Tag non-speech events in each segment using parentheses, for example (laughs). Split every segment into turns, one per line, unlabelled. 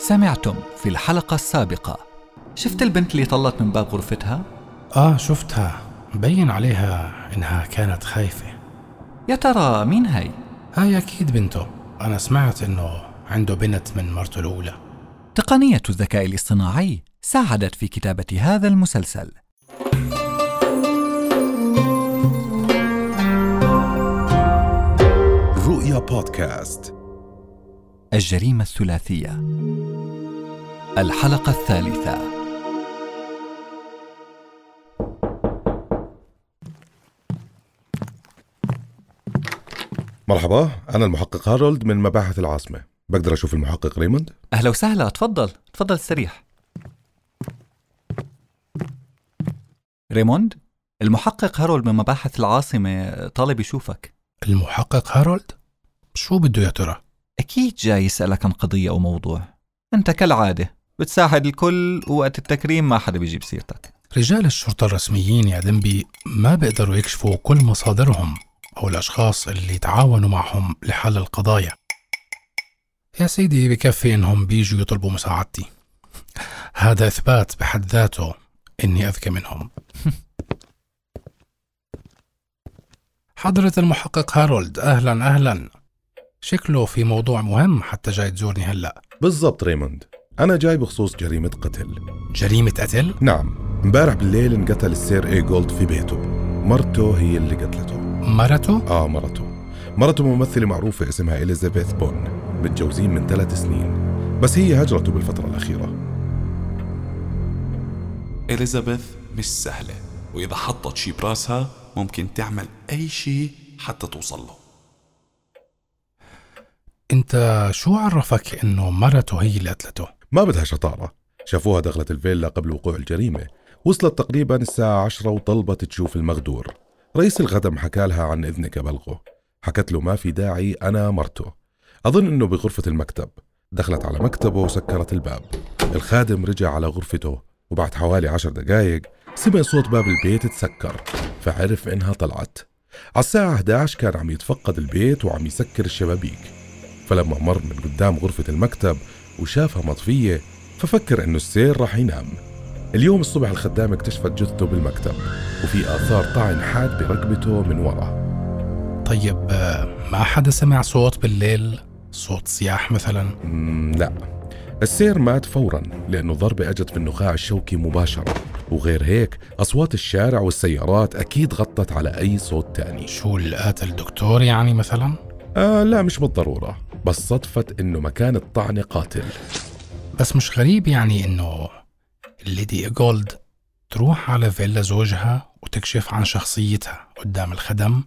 سمعتم في الحلقة السابقة شفت البنت اللي طلت من باب غرفتها؟
آه شفتها مبين عليها إنها كانت خايفة
يا ترى مين هي؟
هاي أكيد بنته أنا سمعت إنه عنده بنت من مرته الأولى
تقنية الذكاء الاصطناعي ساعدت في كتابة هذا المسلسل
رؤيا بودكاست
الجريمة الثلاثية الحلقة الثالثة
مرحبا أنا المحقق هارولد من مباحث العاصمة بقدر أشوف المحقق ريموند؟
أهلا وسهلا تفضل تفضل استريح ريموند المحقق هارولد من مباحث العاصمة طالب يشوفك
المحقق هارولد شو بده يا ترى؟
أكيد جاي يسألك عن قضية أو موضوع أنت كالعادة بتساعد الكل ووقت التكريم ما حدا بيجيب سيرتك
رجال الشرطة الرسميين يا دنبي ما بيقدروا يكشفوا كل مصادرهم أو الأشخاص اللي تعاونوا معهم لحل القضايا يا سيدي بكفي إنهم بيجوا يطلبوا مساعدتي هذا إثبات بحد ذاته إني أذكى منهم (laughs) حضرة المحقق هارولد أهلا أهلا شكله في موضوع مهم حتى جاي تزورني هلأ
بالضبط ريموند أنا جاي بخصوص جريمة قتل
جريمة قتل؟
نعم امبارح بالليل انقتل السير إي جولد في بيته مرته هي اللي قتلته
مرته؟
آه مرته مرته ممثلة معروفة اسمها إليزابيث بون متجوزين من ثلاث سنين بس هي هجرته بالفترة الأخيرة
إليزابيث مش سهلة وإذا حطت شي براسها ممكن تعمل أي شي حتى توصل له
أنت شو عرفك إنه مرته هي اللي قتلته؟
ما بدها شطارة شافوها دخلت الفيلا قبل وقوع الجريمة وصلت تقريبا الساعة عشرة وطلبت تشوف المغدور رئيس الخدم حكى لها عن إذنك أبلغه حكت له ما في داعي أنا مرته أظن إنه بغرفة المكتب دخلت على مكتبه وسكرت الباب الخادم رجع على غرفته وبعد حوالي عشر دقايق سمع صوت باب البيت تسكر فعرف إنها طلعت على الساعة 11 كان عم يتفقد البيت وعم يسكر الشبابيك فلما مر من قدام غرفة المكتب وشافها مطفية ففكر إنه السير راح ينام اليوم الصبح الخدامة اكتشفت جثته بالمكتب وفي آثار طعن حاد بركبته من ورا
طيب آه، ما حدا سمع صوت بالليل؟ صوت صياح مثلا؟
مم، لا السير مات فورا لأنه ضربة أجت في النخاع الشوكي مباشرة وغير هيك أصوات الشارع والسيارات أكيد غطت على أي صوت تاني
شو اللي قاتل دكتور يعني مثلا؟
آه لا مش بالضرورة بس صدفة إنه مكان الطعنة قاتل
بس مش غريب يعني انه ليدي جولد تروح على فيلا زوجها وتكشف عن شخصيتها قدام الخدم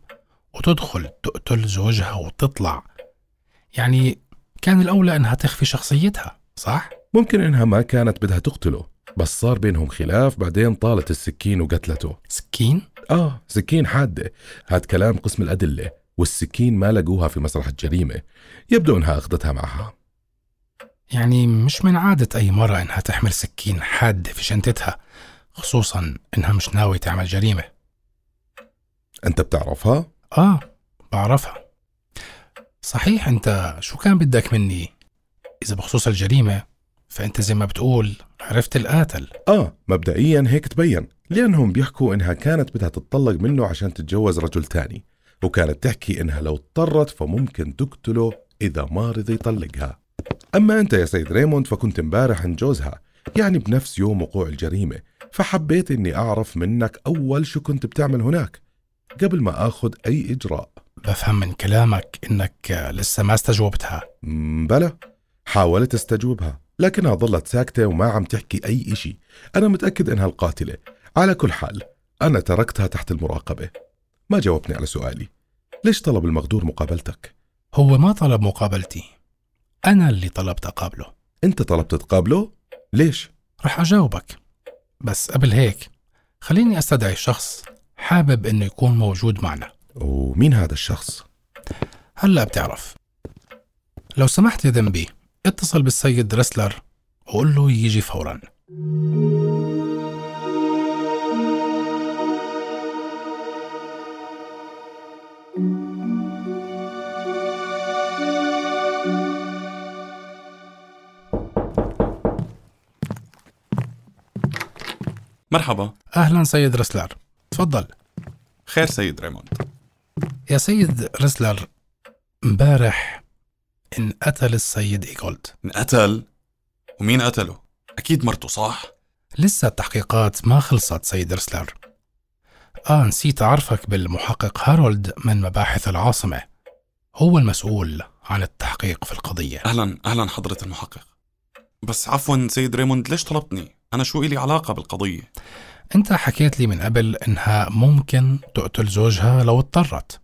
وتدخل تقتل زوجها وتطلع يعني كان الأولى إنها تخفي شخصيتها صح؟
ممكن إنها ما كانت بدها تقتله بس صار بينهم خلاف بعدين طالت السكين وقتلته
سكين؟
آه سكين حادة هاد كلام قسم الأدلة والسكين ما لقوها في مسرح الجريمة يبدو إنها أخذتها معها
يعني مش من عادة أي مرة إنها تحمل سكين حادة في شنطتها خصوصا إنها مش ناوي تعمل جريمة
أنت بتعرفها؟
آه بعرفها صحيح أنت شو كان بدك مني؟ إذا بخصوص الجريمة فأنت زي ما بتقول عرفت القاتل
آه مبدئيا هيك تبين لأنهم بيحكوا إنها كانت بدها تتطلق منه عشان تتجوز رجل تاني وكانت تحكي إنها لو اضطرت فممكن تقتله إذا ما رضي يطلقها أما أنت يا سيد ريموند فكنت امبارح عند جوزها يعني بنفس يوم وقوع الجريمة فحبيت إني أعرف منك أول شو كنت بتعمل هناك قبل ما آخذ أي إجراء
بفهم من كلامك إنك آه، لسه ما استجوبتها
مم، بلى حاولت استجوبها لكنها ظلت ساكتة وما عم تحكي أي إشي أنا متأكد إنها القاتلة على كل حال أنا تركتها تحت المراقبة ما جاوبتني على سؤالي ليش طلب المغدور مقابلتك؟
هو ما طلب مقابلتي أنا اللي طلبت أقابله
أنت طلبت تقابله؟ ليش؟
رح أجاوبك بس قبل هيك خليني أستدعي شخص حابب إنه يكون موجود معنا
ومين هذا الشخص؟
هلا بتعرف لو سمحت يا ذنبي اتصل بالسيد رسلر وقول له يجي فورا
مرحبا
أهلا سيد رسلر تفضل
خير سيد ريموند
يا سيد رسلر امبارح انقتل السيد إيجولد
انقتل ومين قتله؟ أكيد مرته صح؟
لسه التحقيقات ما خلصت سيد رسلر آه نسيت أعرفك بالمحقق هارولد من مباحث العاصمة هو المسؤول عن التحقيق في القضية
أهلا أهلا حضرة المحقق بس عفوا سيد ريموند ليش طلبتني؟ أنا شو إلي علاقة بالقضية؟
أنت حكيت لي من قبل إنها ممكن تقتل زوجها لو اضطرت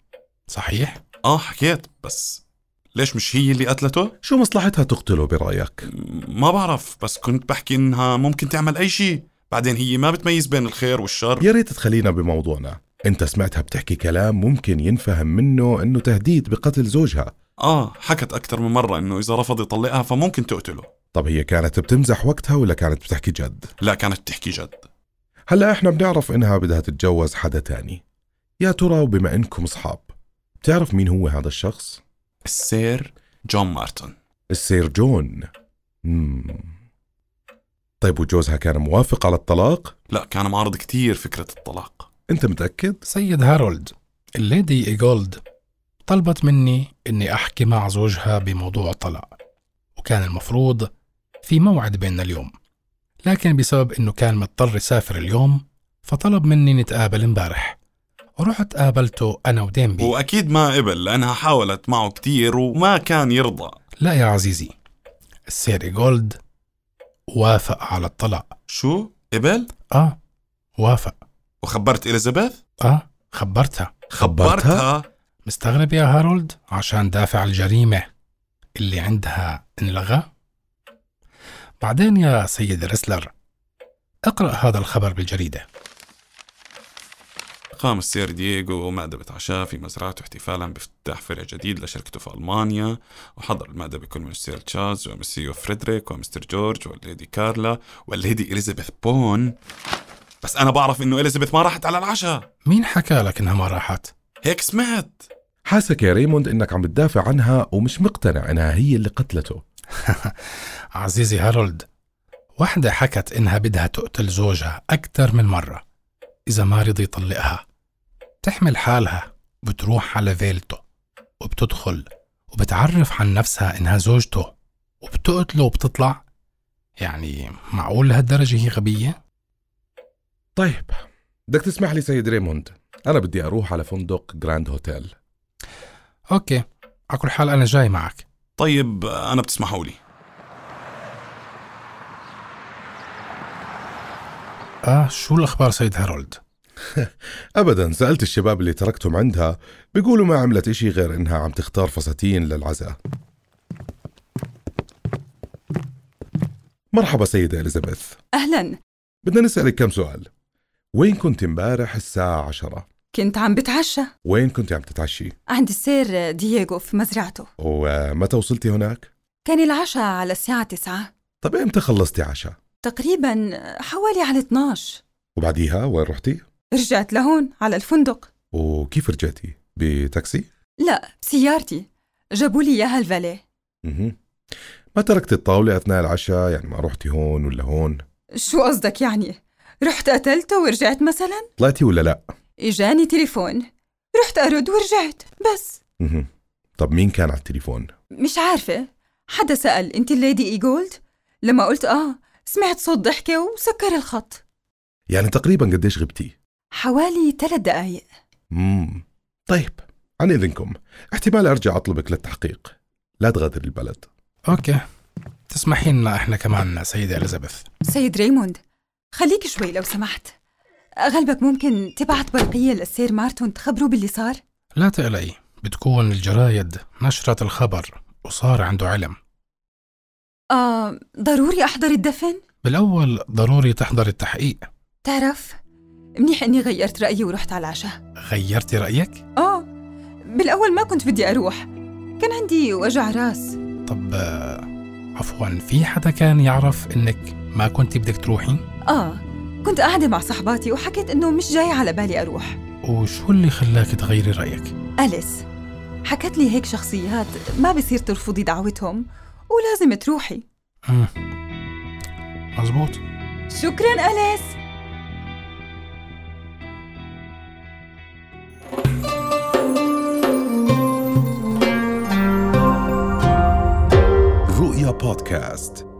صحيح؟
آه حكيت بس ليش مش هي اللي قتلته؟
شو مصلحتها تقتله برأيك؟
م- ما بعرف بس كنت بحكي إنها ممكن تعمل أي شيء بعدين هي ما بتميز بين الخير والشر
يا ريت تخلينا بموضوعنا انت سمعتها بتحكي كلام ممكن ينفهم منه انه تهديد بقتل زوجها
آه حكت أكثر من مرة إنه إذا رفض يطلقها فممكن تقتله
طب هي كانت بتمزح وقتها ولا كانت بتحكي جد؟
لا كانت تحكي جد
هلا احنا بنعرف انها بدها تتجوز حدا تاني يا ترى وبما انكم اصحاب بتعرف مين هو هذا الشخص؟
السير جون مارتن
السير جون مم. طيب وجوزها كان موافق على الطلاق؟
لا كان معارض كتير فكرة الطلاق
انت متأكد؟
سيد هارولد الليدي إيجولد طلبت مني إني أحكي مع زوجها بموضوع الطلاق وكان المفروض في موعد بيننا اليوم لكن بسبب إنه كان مضطر يسافر اليوم فطلب مني نتقابل امبارح ورحت قابلته أنا وديمبي
وأكيد ما قبل لأنها حاولت معه كتير وما كان يرضى
لا يا عزيزي السير إيجولد وافق على الطلاق
شو؟ قبل؟
آه وافق
وخبرت إليزابيث؟
آه خبرتها مستغرب يا هارولد عشان دافع الجريمة اللي عندها انلغى؟ بعدين يا سيد ريسلر اقرأ هذا الخبر بالجريدة
قام السير دييغو مأدبة عشاء في مزرعته احتفالا بافتتاح فرع جديد لشركته في ألمانيا وحضر المأدبة كل من السير تشارلز ومسيو فريدريك ومستر جورج والليدي كارلا والليدي إليزابيث بون بس أنا بعرف إنه إليزابيث ما راحت على العشاء
مين حكى لك انها ما راحت؟
هيك سمعت
حاسك يا ريموند انك عم بتدافع عنها ومش مقتنع انها هي اللي قتلته
عزيزي هارولد واحدة حكت انها بدها تقتل زوجها أكثر من مرة إذا ما رضي يطلقها بتحمل حالها بتروح على فيلته وبتدخل وبتعرف عن نفسها إنها زوجته وبتقتله وبتطلع يعني معقول لهالدرجة هي غبية؟
طيب بدك تسمح لي سيد ريموند انا بدي اروح على فندق جراند هوتيل
أوكي على كل حال أنا جاي معك
طيب أنا بتسمحوا لي
آه شو الأخبار سيد هارولد؟
ابدا سالت الشباب اللي تركتهم عندها بيقولوا ما عملت اشي غير انها عم تختار فساتين للعزاء مرحبا سيدة إليزابيث
أهلا
بدنا نسألك كم سؤال وين كنت امبارح الساعة عشرة؟
كنت عم بتعشى
وين كنت عم تتعشي؟
عند السير دييغو في مزرعته
ومتى وصلتي هناك؟
كان العشاء على الساعة تسعة
طب امتى خلصتي عشاء؟
تقريبا حوالي على 12
وبعديها وين رحتي؟
رجعت لهون على الفندق
وكيف رجعتي؟ بتاكسي؟
لا بسيارتي جابوا لي إياها الفالي
اها ما تركتي الطاولة أثناء العشاء يعني ما رحتي هون ولا هون
شو قصدك يعني؟ رحت قتلته ورجعت مثلا؟
طلعتي ولا لا؟
إجاني تليفون رحت أرد ورجعت بس
اها طب مين كان على التليفون؟
مش عارفة حدا سأل أنت الليدي إيجولد؟ لما قلت آه سمعت صوت ضحكة وسكر الخط
يعني تقريبا قديش غبتي؟
حوالي ثلاث دقايق
امم طيب عن إذنكم احتمال أرجع أطلبك للتحقيق لا تغادر البلد
أوكي تسمحي لنا إحنا كمان سيدة إليزابيث
سيد ريموند خليك شوي لو سمحت غلبك ممكن تبعت برقية للسير مارتون تخبره باللي صار
لا تقلقي بتكون الجرايد نشرت الخبر وصار عنده علم
آه ضروري أحضر الدفن
بالأول ضروري تحضر التحقيق
تعرف منيح إني غيرت رأيي ورحت على العشاء
غيرتي رأيك؟
آه بالأول ما كنت بدي أروح كان عندي وجع راس
طب آه، عفوا في حدا كان يعرف إنك ما كنت بدك تروحي؟
آه كنت قاعدة مع صحباتي وحكيت إنه مش جاي على بالي أروح
وشو اللي خلاك تغيري رأيك؟
أليس حكت لي هيك شخصيات ما بصير ترفضي دعوتهم ولازم تروحي
مم. مزبوط
شكرا أليس
رؤيا بودكاست